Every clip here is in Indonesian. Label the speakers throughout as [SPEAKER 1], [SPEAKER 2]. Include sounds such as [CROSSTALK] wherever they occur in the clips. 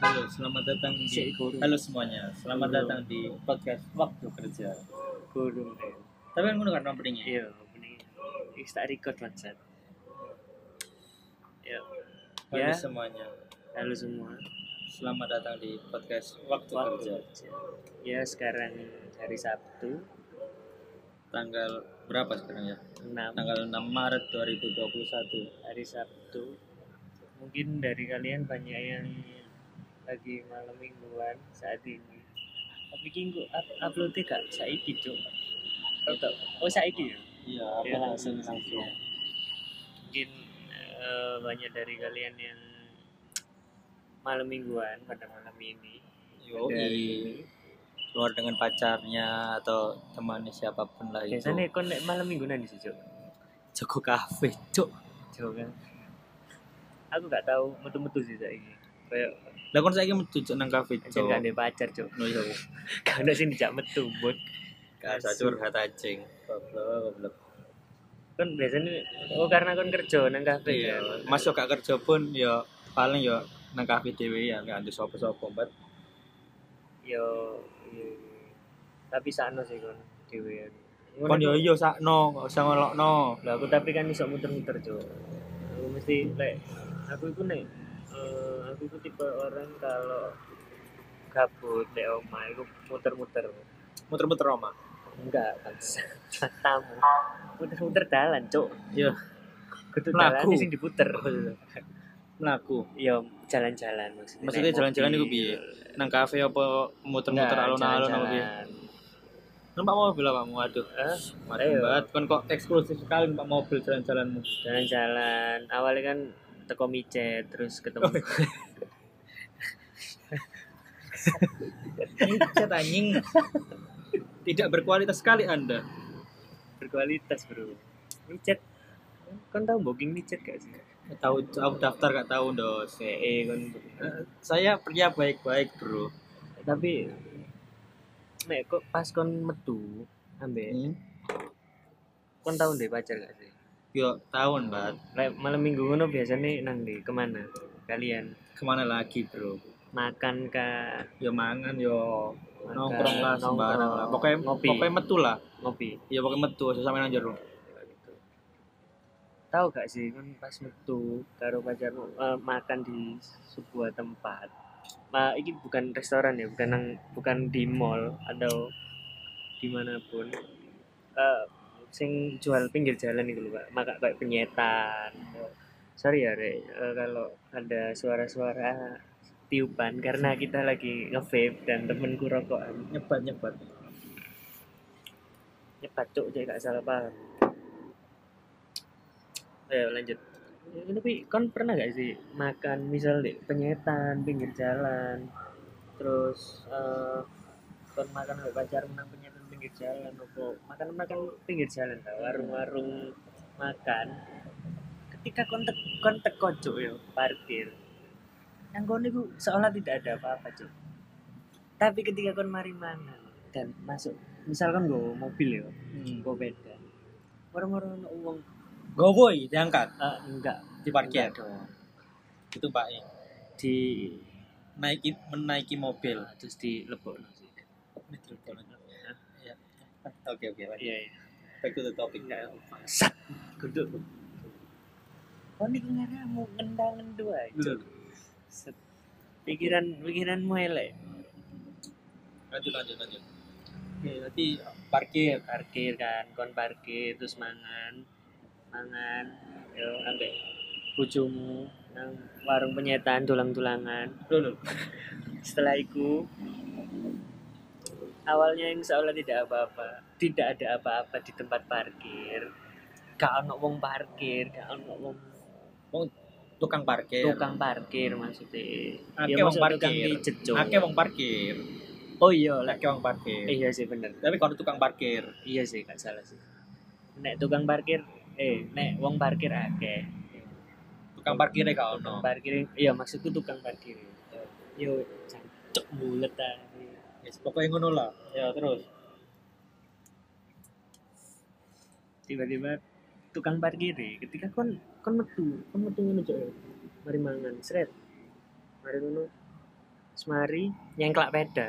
[SPEAKER 1] Halo, selamat datang di
[SPEAKER 2] Syekh Guru.
[SPEAKER 1] Halo semuanya. Selamat
[SPEAKER 2] Halo.
[SPEAKER 1] datang di podcast Waktu Kerja.
[SPEAKER 2] Gurung ya.
[SPEAKER 1] Tapi yang ngono kan openingnya.
[SPEAKER 2] Iya, mending Wis tak record
[SPEAKER 1] Iya.
[SPEAKER 2] WhatsApp. Ya,
[SPEAKER 1] Halo
[SPEAKER 2] Ya.
[SPEAKER 1] semuanya.
[SPEAKER 2] halo semua.
[SPEAKER 1] Selamat datang di podcast Waktu, Kerja.
[SPEAKER 2] Waktu kerja. Ya, sekarang hari Sabtu
[SPEAKER 1] Tanggal berapa sekarang ya?
[SPEAKER 2] 6
[SPEAKER 1] Tanggal 6 Maret 2021.
[SPEAKER 2] hari Sabtu. Mungkin dari kalian banyak yang lagi malam mingguan saat ini. Tapi kingku up- uploadnya gak saiki, Cuk. Atau- Oh, saiki ya.
[SPEAKER 1] Iya,
[SPEAKER 2] apa langsung- langsung? mungkin eh, banyak dari kalian yang malam mingguan pada malam ini
[SPEAKER 1] Yoi. Keluar dengan pacarnya atau temannya siapapun lah itu.
[SPEAKER 2] biasanya kon nek malam mingguan di situ
[SPEAKER 1] Joko Cafe, Cuk.
[SPEAKER 2] coba aku gak tahu metu-metu sih saya ini kayak
[SPEAKER 1] Lah kon saiki metu Cuk, nang kafe,
[SPEAKER 2] aja
[SPEAKER 1] Cuk.
[SPEAKER 2] gak ada pacar cok
[SPEAKER 1] No, iya.
[SPEAKER 2] [LAUGHS] gak ada sih dijak metu bot
[SPEAKER 1] Gak usah
[SPEAKER 2] Asu.
[SPEAKER 1] curhat anjing. Goblok, goblok.
[SPEAKER 2] kon biasanya oh karena kon kerja nang kafe
[SPEAKER 1] Iya,
[SPEAKER 2] ya
[SPEAKER 1] Mas yo gak kerja pun ya paling ya nang kafe dhewe ya gak ada sapa-sapa mbet.
[SPEAKER 2] yo iya. tapi sakno sih kon dhewean
[SPEAKER 1] Kon yo iya sakno, gak usah ngelokno.
[SPEAKER 2] Lah aku tapi kan iso muter-muter, Cuk. Aku mesti lek aku iku nek eh, aku iku tipe orang kalau gabut lek omah iku muter-muter.
[SPEAKER 1] Muter-muter oma.
[SPEAKER 2] Enggak, kan [LAUGHS] tamu. Muter-muter dalan, Cuk.
[SPEAKER 1] Iya.
[SPEAKER 2] Kudu
[SPEAKER 1] Mlaku.
[SPEAKER 2] dalan sing diputer.
[SPEAKER 1] Oh, iya. Mlaku
[SPEAKER 2] Yo jalan-jalan maksudnya.
[SPEAKER 1] Maksudnya
[SPEAKER 2] Naik
[SPEAKER 1] jalan-jalan iku
[SPEAKER 2] mobil.
[SPEAKER 1] piye? nang kafe apa muter-muter
[SPEAKER 2] Enggak,
[SPEAKER 1] alun-alun apa piye?
[SPEAKER 2] jalan-jalan.
[SPEAKER 1] Numpak mobil apa kamu? Aduh.
[SPEAKER 2] Eh,
[SPEAKER 1] Mati
[SPEAKER 2] Ayo.
[SPEAKER 1] banget, kon kok eksklusif sekali numpak mobil jalan-jalanmu.
[SPEAKER 2] jalan-jalan. Awalnya kan teko micet
[SPEAKER 1] Oh,
[SPEAKER 2] terus ketemu
[SPEAKER 1] iya. Cet anjing. Tidak berkualitas sekali Anda.
[SPEAKER 2] berkualitas bro micet kan tahu booking micet gak sih
[SPEAKER 1] Tahu tahu daftar gak tahu, Dos.
[SPEAKER 2] eh kan
[SPEAKER 1] Eh, Saya pria baik-baik, Bro.
[SPEAKER 2] Eh, tapi nek kok pas kon metu ambek
[SPEAKER 1] Hmm?
[SPEAKER 2] kon tahu deh pacar gak sih
[SPEAKER 1] Yo tahun, Mbak.
[SPEAKER 2] Lek malam minggu ngono biasanya nang di kemana kalian
[SPEAKER 1] Kemana lagi, Bro?
[SPEAKER 2] makan kah
[SPEAKER 1] yo mangan yo
[SPEAKER 2] Makan,
[SPEAKER 1] nongkrong lah
[SPEAKER 2] nongkrong,
[SPEAKER 1] sembarang lah pokoknya
[SPEAKER 2] ngopi.
[SPEAKER 1] pokoknya metu lah
[SPEAKER 2] ngopi
[SPEAKER 1] ya pokoknya metu aja sampe nang jero
[SPEAKER 2] tahu gak sih kan pas metu karo pacarmu eh, makan di sebuah tempat Ma, ini bukan restoran ya bukan nang bukan di mall atau dimanapun Eh, sing jual pinggir jalan itu loh pak maka kayak penyetan sorry ya Rek, eh, kalau ada suara-suara tiupan karena kita lagi nge-vape dan temenku rokokan
[SPEAKER 1] nyebat nyebat
[SPEAKER 2] nyebat cuk jadi gak salah paham ayo lanjut Ya, tapi kan pernah gak sih makan misal di penyetan pinggir jalan terus eh kon makan gak pacar menang penyetan pinggir jalan opo makan makan pinggir jalan tau warung-warung makan ketika kontek kontek kocok yo parkir yang kau niku seolah tidak ada apa-apa cuk tapi ketika kon mari mangan dan masuk misalkan gue mobil yo
[SPEAKER 1] Hmm.
[SPEAKER 2] gue beda orang-orang ono uang
[SPEAKER 1] gowoi iya, diangkat
[SPEAKER 2] ah, enggak
[SPEAKER 1] di parkir
[SPEAKER 2] enggak dong
[SPEAKER 1] itu pak E.
[SPEAKER 2] di
[SPEAKER 1] naiki menaiki mobil
[SPEAKER 2] ah, terus di lebok sih
[SPEAKER 1] Ya. oke oke Iya. baik.
[SPEAKER 2] iya iya
[SPEAKER 1] back to the topic
[SPEAKER 2] enggak sat geduk oh ini ngaramu ngendangan dua
[SPEAKER 1] Betul.
[SPEAKER 2] Set. pikiran pikiranmu elek
[SPEAKER 1] lanjut lanjut lanjut oke berarti parkir
[SPEAKER 2] parkir kan kon parkir terus mangan mangan yo ambek bojomu nang warung penyetan tulang-tulangan
[SPEAKER 1] dulu
[SPEAKER 2] setelah itu awalnya yang seolah tidak apa-apa tidak ada apa-apa di tempat parkir gak ono wong parkir gak ono wong
[SPEAKER 1] tukang parkir
[SPEAKER 2] tukang parkir maksudnya
[SPEAKER 1] Ake
[SPEAKER 2] ya
[SPEAKER 1] Iya. wong
[SPEAKER 2] maksud tukang
[SPEAKER 1] parkir.
[SPEAKER 2] pijet Cuk.
[SPEAKER 1] Ake wong parkir,
[SPEAKER 2] oh iya lah
[SPEAKER 1] ake wong parkir.
[SPEAKER 2] iya sih bener
[SPEAKER 1] Tapi kalau tukang parkir,
[SPEAKER 2] iya sih gak salah sih nek tukang parkir eh nek wong parkir akeh
[SPEAKER 1] tukang parkirnya kau no.
[SPEAKER 2] tukang parkir iya maksudku tukang parkir yo cancuk mulet ah.
[SPEAKER 1] Yes, pokoknya ngono lah. Ya terus.
[SPEAKER 2] tiba-tiba tukang parkir deh ketika kon ya. kon metu kon metu ngono cok mari mangan seret mari ngono semari nyengklak peda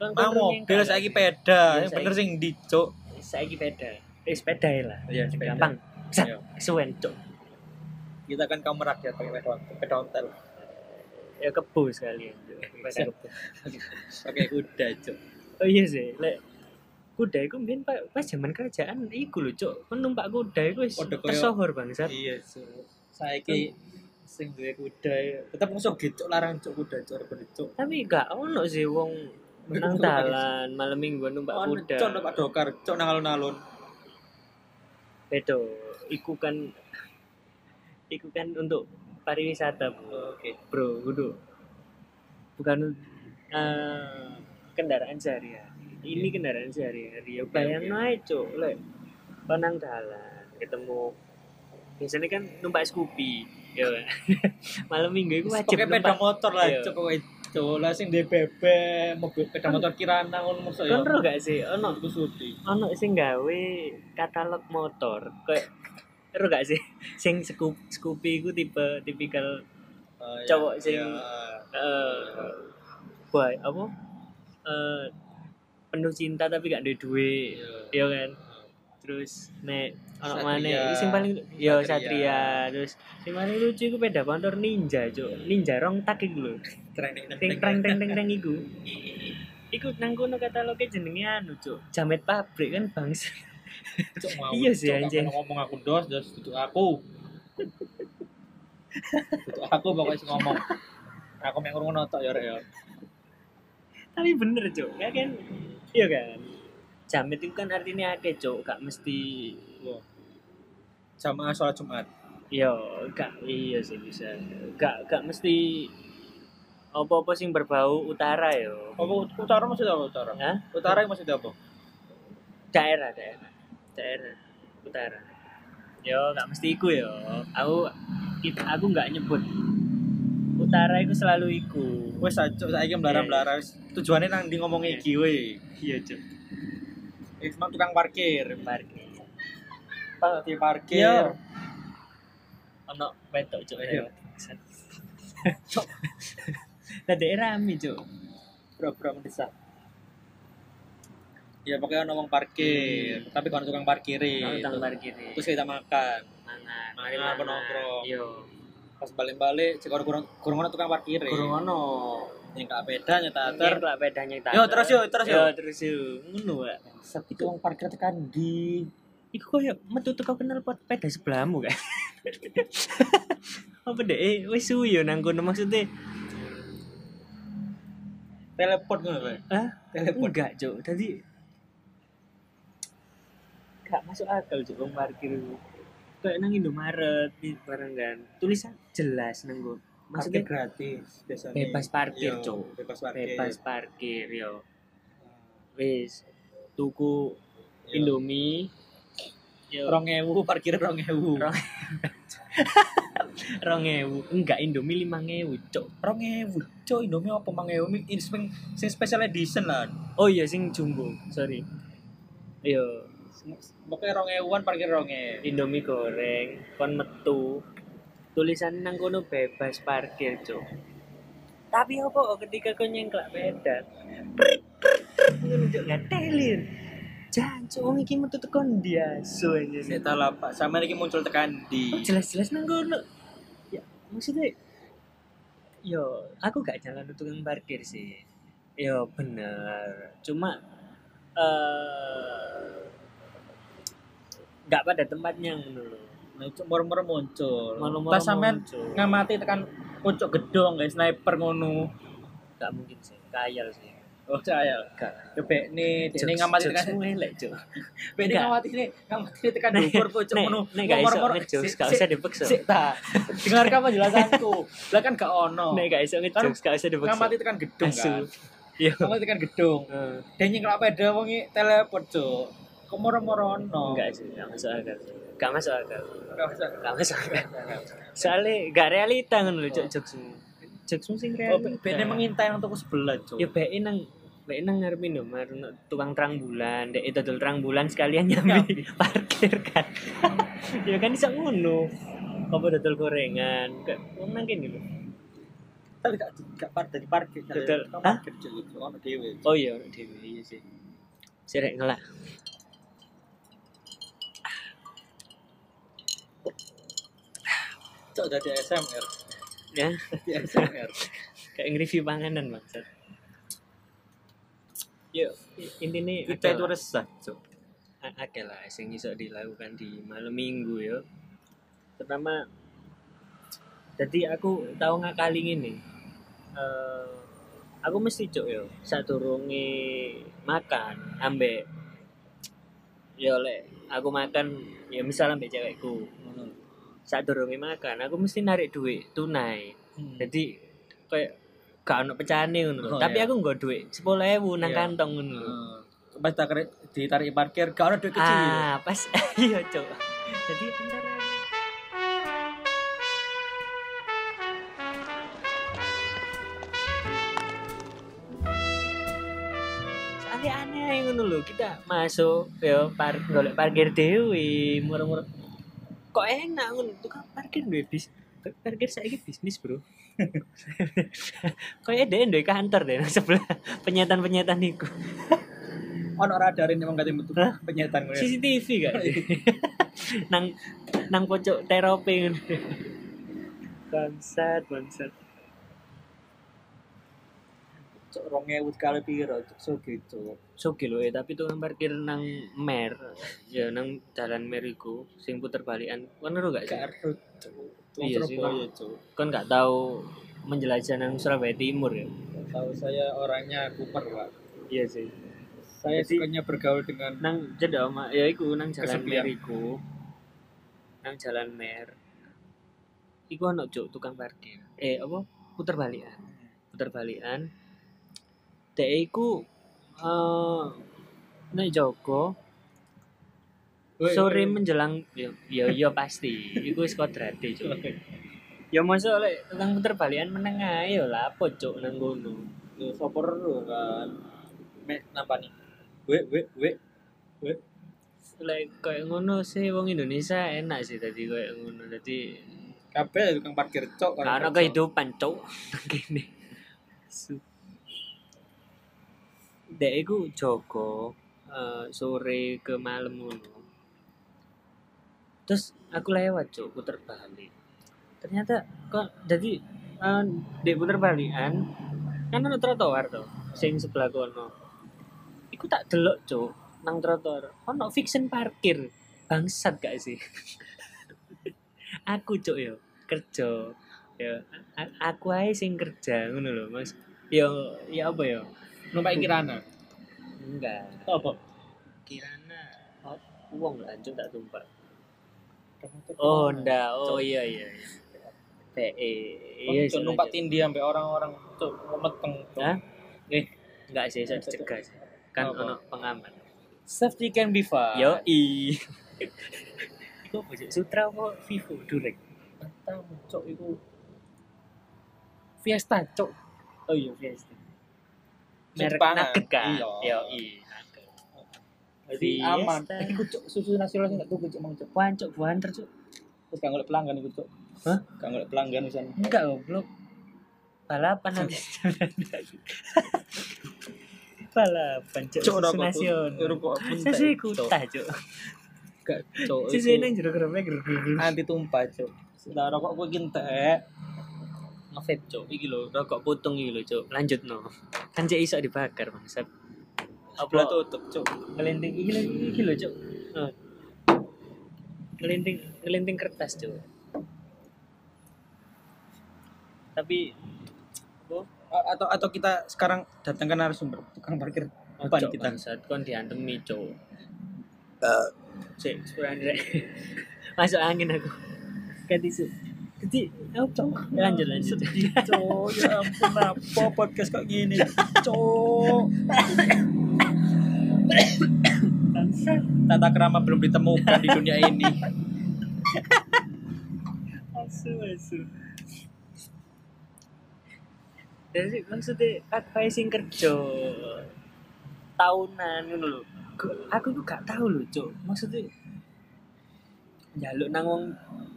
[SPEAKER 2] kan
[SPEAKER 1] Mau mobil saiki
[SPEAKER 2] Iya,
[SPEAKER 1] peda, yang
[SPEAKER 2] saiki.
[SPEAKER 1] bener sing dicuk.
[SPEAKER 2] saiki peda eh sepeda ya lah
[SPEAKER 1] Iya, sepeda.
[SPEAKER 2] gampang Zat.
[SPEAKER 1] Iya.
[SPEAKER 2] suwen cuk
[SPEAKER 1] Kita kan kamu rakyat pakai peda, peda ontel.
[SPEAKER 2] ya kebo sekalian Cuk.
[SPEAKER 1] [LAUGHS]
[SPEAKER 2] Bahasa kebo.
[SPEAKER 1] Pakai kuda, cuk.
[SPEAKER 2] oh iya sih lek kuda itu mungkin pak pas zaman kerajaan iku lho cuk Kan numpak kuda itu wis
[SPEAKER 1] Padha kaya-
[SPEAKER 2] tersohor bangsat
[SPEAKER 1] Iya, cuk. Saiki sing duwe kuda ya, tetep musuh gitu larang cuk kuda cuk rebut cuk.
[SPEAKER 2] tapi gak ono sih wong
[SPEAKER 1] Numpak
[SPEAKER 2] menang
[SPEAKER 1] kuda.
[SPEAKER 2] dalan malam minggu numpak
[SPEAKER 1] Ono
[SPEAKER 2] kuda
[SPEAKER 1] Oh, cuk numpak dokar, cuk nang alun-alun.
[SPEAKER 2] Bedo, iku kan iku kan untuk pariwisata bro,
[SPEAKER 1] Oke.
[SPEAKER 2] bro kudu. bukan eh, kendaraan sehari-hari. Ini
[SPEAKER 1] Iya.
[SPEAKER 2] kendaraan sehari-hari. Ya bayang naik cuk, lek penang dalan ketemu biasanya kan numpak Scoopy, ya [LAUGHS] kan? malam minggu itu wajib
[SPEAKER 1] Pakai peda
[SPEAKER 2] numpak.
[SPEAKER 1] motor lah,
[SPEAKER 2] Iya.
[SPEAKER 1] cuk kowe. Cuk, lah sing duwe bebek, mobil peda motor kirana ngono musuh ya.
[SPEAKER 2] Kon ro Kan gak sih? Ono
[SPEAKER 1] Aku suti.
[SPEAKER 2] ono sing gawe katalog motor. Kayak ro gak sih? [LAUGHS] Sing Scoop Scoopy iku tipe tipikal
[SPEAKER 1] Ah,
[SPEAKER 2] Cowok sing- eh boy apa eh penuh cinta tapi gak ada duit ya kan terus nek anak
[SPEAKER 1] Satria.
[SPEAKER 2] mana sing paling yo
[SPEAKER 1] Satria.
[SPEAKER 2] satria terus sing paling lucu iku peda motor ninja cuk ninja rong tak iku lho
[SPEAKER 1] training
[SPEAKER 2] teng teng teng teng teng iku iku nang kono kataloge jenenge anu cuk jamet pabrik kan bangsa
[SPEAKER 1] Cuk, mau,
[SPEAKER 2] Iya sih,
[SPEAKER 1] Cuk, kamu
[SPEAKER 2] anjing.
[SPEAKER 1] ngomong aku dos dos tutup aku tutup aku pokoknya sih ngomong aku yang ngurung notok ya Rek, ya
[SPEAKER 2] tapi bener cuk ya kan iya kan jamet itu kan artinya akeh cuk gak mesti
[SPEAKER 1] sama sholat jumat
[SPEAKER 2] Yo, gak iya sih bisa. Gak gak mesti apa-apa sing berbau utara yo.
[SPEAKER 1] apa utara masih apa utara
[SPEAKER 2] Hah?
[SPEAKER 1] utara yang masih apa
[SPEAKER 2] Daerah, daerah. Daerah utara. Yo, gak mesti iku yo. Aku kita aku gak nyebut utara iku selalu iku.
[SPEAKER 1] wes aja saya melarang melarang tujuannya nang di ngomong
[SPEAKER 2] Iya.
[SPEAKER 1] iki we
[SPEAKER 2] Iya, Cuk.
[SPEAKER 1] Eh, cuma tukang parkir
[SPEAKER 2] Parkir.
[SPEAKER 1] di parkir
[SPEAKER 2] Iya. Ono wetok, Cuk.
[SPEAKER 1] Iya.
[SPEAKER 2] Cuk. Lah daerah rame, Cuk.
[SPEAKER 1] bro-bro mendesak
[SPEAKER 2] Iya.
[SPEAKER 1] ya pokoknya ngomong parkir
[SPEAKER 2] Hmm.
[SPEAKER 1] tapi kan tukang
[SPEAKER 2] Ono
[SPEAKER 1] parkirin
[SPEAKER 2] tang parkir.
[SPEAKER 1] terus kita makan
[SPEAKER 2] Iya, mangan,
[SPEAKER 1] Mangan,
[SPEAKER 2] mangan. Iya.
[SPEAKER 1] penongkrong.
[SPEAKER 2] Yo.
[SPEAKER 1] pas balik-balik cek kurang kurang kurang tukang parkir
[SPEAKER 2] Kurang ono.
[SPEAKER 1] yang gak beda nyata ter
[SPEAKER 2] Ter lah bedanya kita.
[SPEAKER 1] Yo, terus yo, terus yo.
[SPEAKER 2] terus yo. Ngono wae.
[SPEAKER 1] sepi tukang parkir tekan di
[SPEAKER 2] Iku koyo metu teko kenal pot peda
[SPEAKER 1] [LAUGHS]
[SPEAKER 2] sebelahmu kan. Apa deh, eh, wis suyu nang kono maksudnya.
[SPEAKER 1] teleport ngono Pak.
[SPEAKER 2] Hah?
[SPEAKER 1] teleport
[SPEAKER 2] Enggak, Cuk. Tadi gak masuk akal Cuk wong parkir iku. Kayak nang Indomaret di barang kan. Tulisan jelas nang kono.
[SPEAKER 1] parkir
[SPEAKER 2] Maksudnya
[SPEAKER 1] gratis biasanya
[SPEAKER 2] bebas parkir,
[SPEAKER 1] Yo,
[SPEAKER 2] Cuk.
[SPEAKER 1] bebas parkir
[SPEAKER 2] Bebas parkir yo. Wis tuku
[SPEAKER 1] Iya.
[SPEAKER 2] Indomie yo.
[SPEAKER 1] rong ewu parkir rong ewu
[SPEAKER 2] Rong- rong ewu enggak Indomie lima ewu cok
[SPEAKER 1] rong ewu cok indomie apa mang ewu Mi- ini sing sing special edition lah
[SPEAKER 2] oh iya sing jumbo sorry yo
[SPEAKER 1] pokoknya rong ewuan parkir rong ewu
[SPEAKER 2] Indomie goreng kon metu tulisan nang kono bebas parkir cok tapi apa kok ketika kau nyengklak beda nunjuk ngetelin jangan cok wong iki metu tekon dia
[SPEAKER 1] saya
[SPEAKER 2] soalnya
[SPEAKER 1] tahu lah pak sama lagi muncul tekan di
[SPEAKER 2] jelas-jelas nang kono ya maksudnya yo aku gak jalan ke tukang parkir sih yo bener cuma eh gak pada tempatnya ngono lho
[SPEAKER 1] nah, cok murmur muncul
[SPEAKER 2] Malu-malu
[SPEAKER 1] tas sampean
[SPEAKER 2] muncul.
[SPEAKER 1] ngamati tekan pucuk gedong guys sniper ngono
[SPEAKER 2] gak mungkin sih kayal sih
[SPEAKER 1] oh saya
[SPEAKER 2] gak
[SPEAKER 1] Bebek nih, ini ngamati tekan
[SPEAKER 2] semua [LAUGHS] elek cok
[SPEAKER 1] Bek ini
[SPEAKER 2] Enggak.
[SPEAKER 1] ngawati ini, ngawati ini tekan
[SPEAKER 2] Nek,
[SPEAKER 1] dukur pojok
[SPEAKER 2] nek,
[SPEAKER 1] ngono.
[SPEAKER 2] nek gak iso
[SPEAKER 1] Ngomor-ngomor.
[SPEAKER 2] ngejokes
[SPEAKER 1] Sik,
[SPEAKER 2] gak
[SPEAKER 1] sik,
[SPEAKER 2] usah dipaksa
[SPEAKER 1] Sik ta. Dengarkan penjelasanku. Lah kan gak ono.
[SPEAKER 2] nek gak iso ngejokes gak usah dipaksa Iya.
[SPEAKER 1] Ngawati tekan gedung kan.
[SPEAKER 2] Asu. [LAUGHS] yo
[SPEAKER 1] Ngawati tekan gedung. Dan nyengklak peda wong iki teleport cuk. Kemoro-moro ono.
[SPEAKER 2] enggak sih gak masuk akal gak masuk akal
[SPEAKER 1] Gak usah.
[SPEAKER 2] gak masuk akal
[SPEAKER 1] Gak usah.
[SPEAKER 2] soalnya gak realita kan lho
[SPEAKER 1] Oh.
[SPEAKER 2] cok jokesmu jokesmu sing
[SPEAKER 1] Oh,
[SPEAKER 2] realita
[SPEAKER 1] Bek ini mengintai nang toko sebelah cuk.
[SPEAKER 2] ya bae nang bae nang ngarep Indomaret no, tukang terang bulan dek itu dodol terang bulan sekalian nyambi [LAUGHS] parkir kan [LAUGHS] ya kan bisa ngono apa dodol gorengan kok wong nang kene lho
[SPEAKER 1] tapi gak gak parkir di parkir gak
[SPEAKER 2] Betul.
[SPEAKER 1] gak
[SPEAKER 2] Hah?
[SPEAKER 1] parkir juga itu ono dhewe
[SPEAKER 2] oh iya ono dhewe iya sih sirek ngelak
[SPEAKER 1] cok jadi SMR
[SPEAKER 2] ya [LAUGHS]
[SPEAKER 1] jadi SMR
[SPEAKER 2] kayak nge-review panganan maksud yuk intinya
[SPEAKER 1] kita itu resah cok
[SPEAKER 2] akeh lah sing iso dilakukan di malam minggu ya pertama jadi aku tahu ngakali ini Eh aku mesti cok yo saat makan ambek yo lek aku makan ya misal ambek cewekku
[SPEAKER 1] ngono
[SPEAKER 2] saat makan aku mesti narik duit tunai jadi kayak gak ono pecane ngono
[SPEAKER 1] Hmm. Oh,
[SPEAKER 2] tapi
[SPEAKER 1] iya.
[SPEAKER 2] aku nggak duit sepuluh ewu nang
[SPEAKER 1] Iya.
[SPEAKER 2] kantong ngono
[SPEAKER 1] Eh, pas tak kere- ditarik parkir gak ono duit kecil ya.
[SPEAKER 2] ah pas [LAUGHS] iya cok jadi antara soalnya aneh aja ngono lho kita masuk ya par golek parkir dewi murah-murah kok enak ngono tukang parkir duwe bis parkir saya bisnis bro [LAUGHS] kok ada yang kantor deh [LAUGHS] nang sebelah penyetan penyetan itu
[SPEAKER 1] ono radarin yang mengganti bentuk penyetan ngono ya.
[SPEAKER 2] CCTV gak sih? Iya. [LAUGHS] nang nang pojok terapi ngono. Bangsat, bangsat.
[SPEAKER 1] cok 2000 kali piro cok so gitu
[SPEAKER 2] Sogi lho eh, tapi tukang parkir nang mer, ya nang jalan mer iku sing puter balikan. Kon ngeru gak sih?
[SPEAKER 1] gak ero cok Wong
[SPEAKER 2] Iya sih,
[SPEAKER 1] Surabaya cok
[SPEAKER 2] Kon gak tahu menjelajah nang Surabaya Timur ya?
[SPEAKER 1] tahu saya orangnya kuper pak
[SPEAKER 2] Iya
[SPEAKER 1] saya
[SPEAKER 2] sih. Jadi- Nah,
[SPEAKER 1] sukanya bergaul dengan
[SPEAKER 2] Nang jeda oma, ya iku nang jalan
[SPEAKER 1] Kesepian.
[SPEAKER 2] mer iku. Nang jalan mer. Iku ono cuk tukang parkir. Eh apa? Puter balikan. putar balikan dhek iku eh nek Joko
[SPEAKER 1] Woi,
[SPEAKER 2] sore
[SPEAKER 1] woi.
[SPEAKER 2] menjelang ya ya, ya pasti iku wis kodrate cuk ya masa lek tukang puter balikan meneng ae ya lapo cuk nang ngono
[SPEAKER 1] Yo soper lu kan. Me napa nih? We we we.
[SPEAKER 2] lek koyo ngono sih wong Indonesia enak sih tadi koyo ngono dadi
[SPEAKER 1] Kabeh tukang parkir kan? cok
[SPEAKER 2] gak ono kehidupan cuk [LAUGHS] gini dek iku Joko eh, sore ke malam ngono terus aku lewat cuk puter balik ternyata kok jadi eh, dek puter balikan kan ono trotoar tuh sing sebelah kono iku tak delok cuk nang trotoar ono fiction parkir bangsat gak sih [LAUGHS] aku cuk yo kerja ya a- aku aja sing kerja ngono lho Mas yo ya apa yo
[SPEAKER 1] numpak kirana.
[SPEAKER 2] enggak
[SPEAKER 1] Apa?
[SPEAKER 2] kirana oh, uang lah anjing tak tumpak oh ndak oh iya iya iya. PE iya
[SPEAKER 1] Iya,
[SPEAKER 2] sih,
[SPEAKER 1] numpak
[SPEAKER 2] lanjut.
[SPEAKER 1] tindi sampai orang-orang tuh meteng. Cok.
[SPEAKER 2] Hah? eh enggak sih saya dicegah sih kan
[SPEAKER 1] Apa?
[SPEAKER 2] ono pengaman
[SPEAKER 1] Safety can be fun.
[SPEAKER 2] yo i Iku [LAUGHS] apa sih? sutra apa vivo durek
[SPEAKER 1] Tahu, cok itu Fiesta cok.
[SPEAKER 2] oh iya biasa
[SPEAKER 1] Sing
[SPEAKER 2] merek
[SPEAKER 1] pangan.
[SPEAKER 2] nugget kan
[SPEAKER 1] Iya.
[SPEAKER 2] yo i nugget.
[SPEAKER 1] Jadi aman.
[SPEAKER 2] Fiesta.
[SPEAKER 1] Iku cok susu nasional sing gak tuku cok mang cok.
[SPEAKER 2] buan cuk buan tercuk
[SPEAKER 1] Terus gak golek pelanggan iku cok.
[SPEAKER 2] Hah?
[SPEAKER 1] Gak golek pelanggan pisan.
[SPEAKER 2] Enggak goblok. Balapan nanti. [LAUGHS] Balapan cuk.
[SPEAKER 1] Cuk, rokok
[SPEAKER 2] nasional.
[SPEAKER 1] pun- rokok pun tak,
[SPEAKER 2] Sisi
[SPEAKER 1] Cuk.
[SPEAKER 2] kutah cuk.
[SPEAKER 1] Gak cok. iku.
[SPEAKER 2] Sisi nang jero gerobak gerobak.
[SPEAKER 1] anti tumpah cok setelah rokok gue gintek ngefit cok
[SPEAKER 2] Iki lho rokok putung iki lho cuk. Lanjut no. Kan cek iso dibakar bangsat.
[SPEAKER 1] sebelah tutup cok
[SPEAKER 2] Kelinting iki lho iki lho cuk. Eh. Kelinting kelinting kertas cuk. Tapi
[SPEAKER 1] A- atau atau kita sekarang datangkan narasumber tukang parkir depan
[SPEAKER 2] Ojo
[SPEAKER 1] kita
[SPEAKER 2] kita saat kon diantemi cuk. Cek, sepuluhan rek. [LAUGHS] Masuk angin aku. Ganti su. Jadi, apa? Lanjut, lanjut.
[SPEAKER 1] sedih cok ya ampun apa podcast kayak gini [LAUGHS] cok
[SPEAKER 2] Bangsat.
[SPEAKER 1] tata kerama belum ditemukan di dunia [LAUGHS] ini
[SPEAKER 2] Asu, asu. Jadi maksudnya advising kerja tahunan ngono lho. Gu- Aku tuh gak tahu lho, Cuk. Maksudnya jaluk nang wong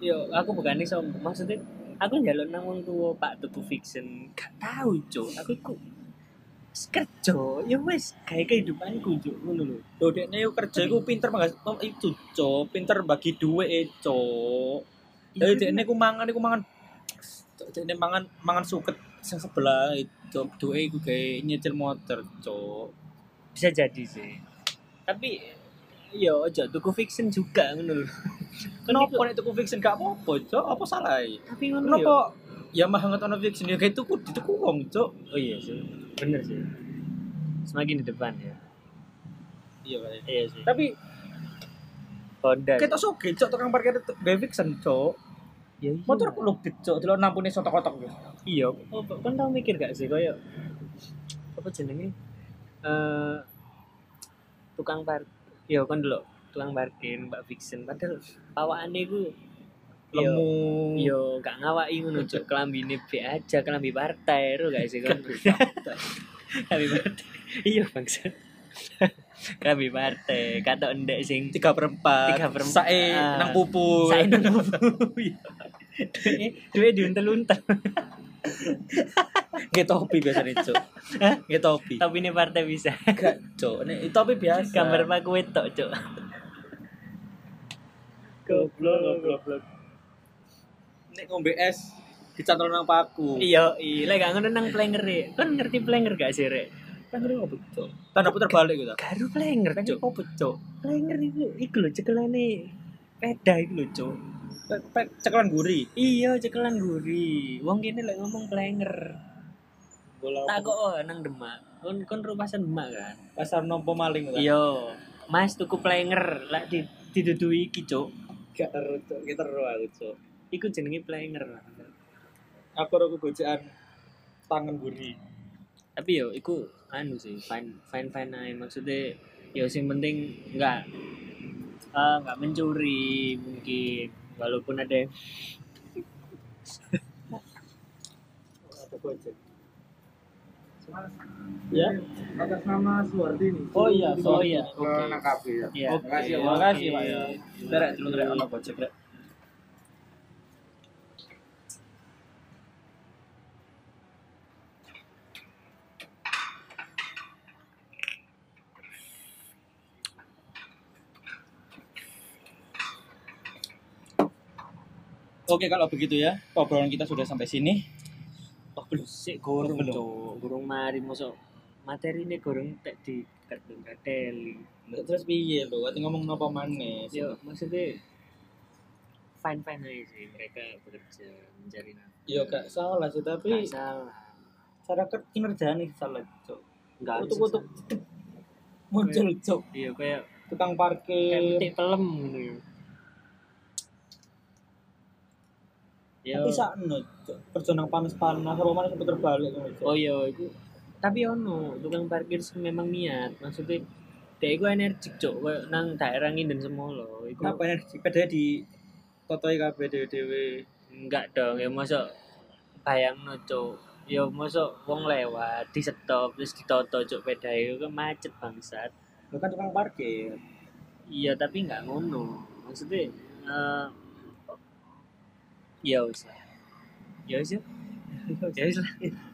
[SPEAKER 2] yo aku bukan iso maksudnya aku njaluk nang wong tuwa Pak tuku fiction gak tahu cuk aku iku wis kerja ya wis kayak kehidupanku cuk ngono lho
[SPEAKER 1] Lho dekne yo kerja iku pinter Oh, manggas mem- itu cok, pinter bagi duit e cok. Lha dekne ku mangan iku mangan cok dekne mangan mangan suket sing sebelah itu duwe iku gawe nyetir motor cok.
[SPEAKER 2] bisa jadi sih tapi yo aja tuku fiction juga ngono lho Kan
[SPEAKER 1] Kenapa
[SPEAKER 2] iku-
[SPEAKER 1] nek tuku fiction gak apa-apa cok, apa salah e?
[SPEAKER 2] tapi ngono yo.
[SPEAKER 1] Kenapa ya mah ngat ono fiction ya kayak tuku dituku wong cok.
[SPEAKER 2] oh iya sih bener sih semakin di depan ya
[SPEAKER 1] Iya Pak.
[SPEAKER 2] iya sih
[SPEAKER 1] Tapi
[SPEAKER 2] Honda
[SPEAKER 1] kita soge cok tukang parkir itu gawe fiction cok.
[SPEAKER 2] Ya iya.
[SPEAKER 1] Motor ku lupit cok, delok nampune sotok-otok yo.
[SPEAKER 2] iya oh, kan tau mikir gak sih koyo apa jenenge eh tukang park iya kan dulu tukang parkir mbak fiction padahal pawaan iku Iya.
[SPEAKER 1] Lemu. Iya,
[SPEAKER 2] yo gak ngawaki ngono
[SPEAKER 1] [LAUGHS]
[SPEAKER 2] cuk kelambine be aja kelambi partai ro gak sih kan [LAUGHS] kelambi partai iya bangsa [LAUGHS] kelambi partai kata ndek sing
[SPEAKER 1] tiga per empat
[SPEAKER 2] Tiga Ah. per empat.
[SPEAKER 1] sae nang pupu
[SPEAKER 2] saya nunggu [LAUGHS] iya. duwe diuntel-untel
[SPEAKER 1] nggih topi biasane cuk
[SPEAKER 2] Hah?
[SPEAKER 1] nggih topi
[SPEAKER 2] tapi ini partai bisa
[SPEAKER 1] gak cuk nek topi biasa
[SPEAKER 2] gambar pak kue tok cuk
[SPEAKER 1] goblok goblok nek ngombe es dicantol nang paku
[SPEAKER 2] iya iya lek gak ngono nang plenger e. kan ngerti plenger gak sih rek
[SPEAKER 1] kan ngeri opo cuk tanda puter balik gitu
[SPEAKER 2] garu plenger
[SPEAKER 1] kan
[SPEAKER 2] cuk
[SPEAKER 1] opo cuk
[SPEAKER 2] plenger itu iku lho cekelane peda iku lho cuk
[SPEAKER 1] Pe- pe- cekelan guri
[SPEAKER 2] iya cekelan guri wong kene lek ngomong plenger
[SPEAKER 1] bola
[SPEAKER 2] tak kok oh, nang demak kon kon rumahan demak kan
[SPEAKER 1] pasar nompo maling kan
[SPEAKER 2] iya mas tuku plenger lek di didudui iki cuk
[SPEAKER 1] gak teru cuk gak teru aku cuk
[SPEAKER 2] iku jenenge plenger
[SPEAKER 1] aku roku gojekan tangan guri
[SPEAKER 2] tapi yo iku anu sih fine fine fine aja maksudnya ya sing penting enggak eh, enggak mencuri mungkin walaupun ada
[SPEAKER 1] Ada gojek.
[SPEAKER 2] ya
[SPEAKER 3] atas nama Suwardi
[SPEAKER 1] Oh iya,
[SPEAKER 2] oh iya
[SPEAKER 3] ke
[SPEAKER 2] oke
[SPEAKER 3] anak KB ya.
[SPEAKER 2] Iya.
[SPEAKER 1] Oke,
[SPEAKER 3] Makasih,
[SPEAKER 1] terima kasih
[SPEAKER 2] Oke.
[SPEAKER 1] Pak. ya. Kita rek dulu rek ono Gojek rek. Oke kalau begitu ya, obrolan kita sudah sampai sini.
[SPEAKER 2] oh belum sih gorong
[SPEAKER 1] Belum.
[SPEAKER 2] Cuk. gorong mari masuk materi ini gorong tak di kartun kartel
[SPEAKER 1] Terus piye lho, ati ngomong apa maneh?
[SPEAKER 2] ya maksudnya fine fine aja sih mereka bekerja mencari nafkah
[SPEAKER 1] Yo gak salah sih, tapi
[SPEAKER 2] Nggak salah
[SPEAKER 1] cara ker- kinerjane salah, Cuk.
[SPEAKER 2] nggak ada
[SPEAKER 1] Kutuk-kutuk.
[SPEAKER 2] sih, salah.
[SPEAKER 1] muncul cok
[SPEAKER 2] iya kayak
[SPEAKER 1] tukang
[SPEAKER 2] kayak
[SPEAKER 1] parkir
[SPEAKER 2] petik pelem gitu ya. Yo.
[SPEAKER 1] tapi sakno cok kerja nang panas-panas apa mana puter balik ngono
[SPEAKER 2] Oh
[SPEAKER 1] cok
[SPEAKER 2] iya itu tapi ono tukang parkir sing memang niat maksudnya dia iku energik cok koyo nang daerah Nginden Semolo iku
[SPEAKER 1] kenapa energi padahal di totoi kabeh dhewe-dhewe
[SPEAKER 2] enggak dong ya mosok bayangno cok ya mosok wong lewat di stop terus ditoto cok pedae iku kan macet bangsat
[SPEAKER 1] Lu kan tukang parkir
[SPEAKER 2] iya tapi enggak ngono maksudnya eh ya wis lah ya wis ya ya wis lah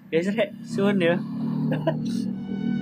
[SPEAKER 2] ya wis rek suwun ya